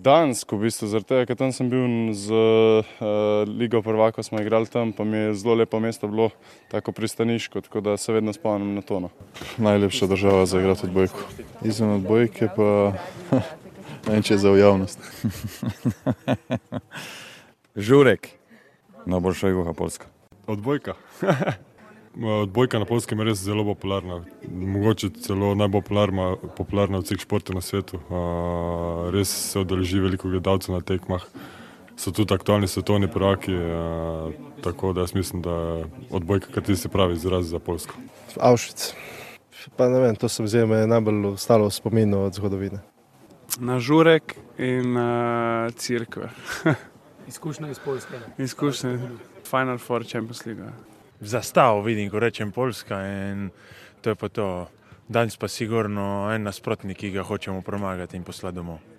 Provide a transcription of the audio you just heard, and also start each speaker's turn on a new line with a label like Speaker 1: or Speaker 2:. Speaker 1: Gdansk, v bistvu, zaradi tega, ker tam sem bil z uh, Ligo Prvaka, smo igrali tam, pa mi je zelo lepo mesto bilo, tako pristaniško, tako da se vedno spomnim na to. No.
Speaker 2: Najlepša država za igrati odbojko. Izven odbojke pa ne vem, če je za v javnost.
Speaker 3: Žurek. Najboljša juha Polska.
Speaker 4: Odbojka. Odbojka na polskem je res zelo popularna, mogoče celo najbolj popularna, popularna od vseh športov na svetu. Uh, res se odeleži veliko gledalcev na tekmah, so tudi aktualni svetovni prvaki, uh, tako da jaz mislim, da je odbojka, kar ti se pravi, izraz za Polsko.
Speaker 5: Avšvic. Pa ne vem, to se mi zdi, me je najbolj ostalo v spominu od zgodovine.
Speaker 6: na žurek in eh, na crkve.
Speaker 7: Izkušnje iz Poljske.
Speaker 6: Izkušnje, Final Four Champions League. ja.
Speaker 8: Zastav vidim, ko rečem Poljska in to je pa to. Danes pa sigurno en nasprotnik, ki ga hočemo premagati in poslati domov.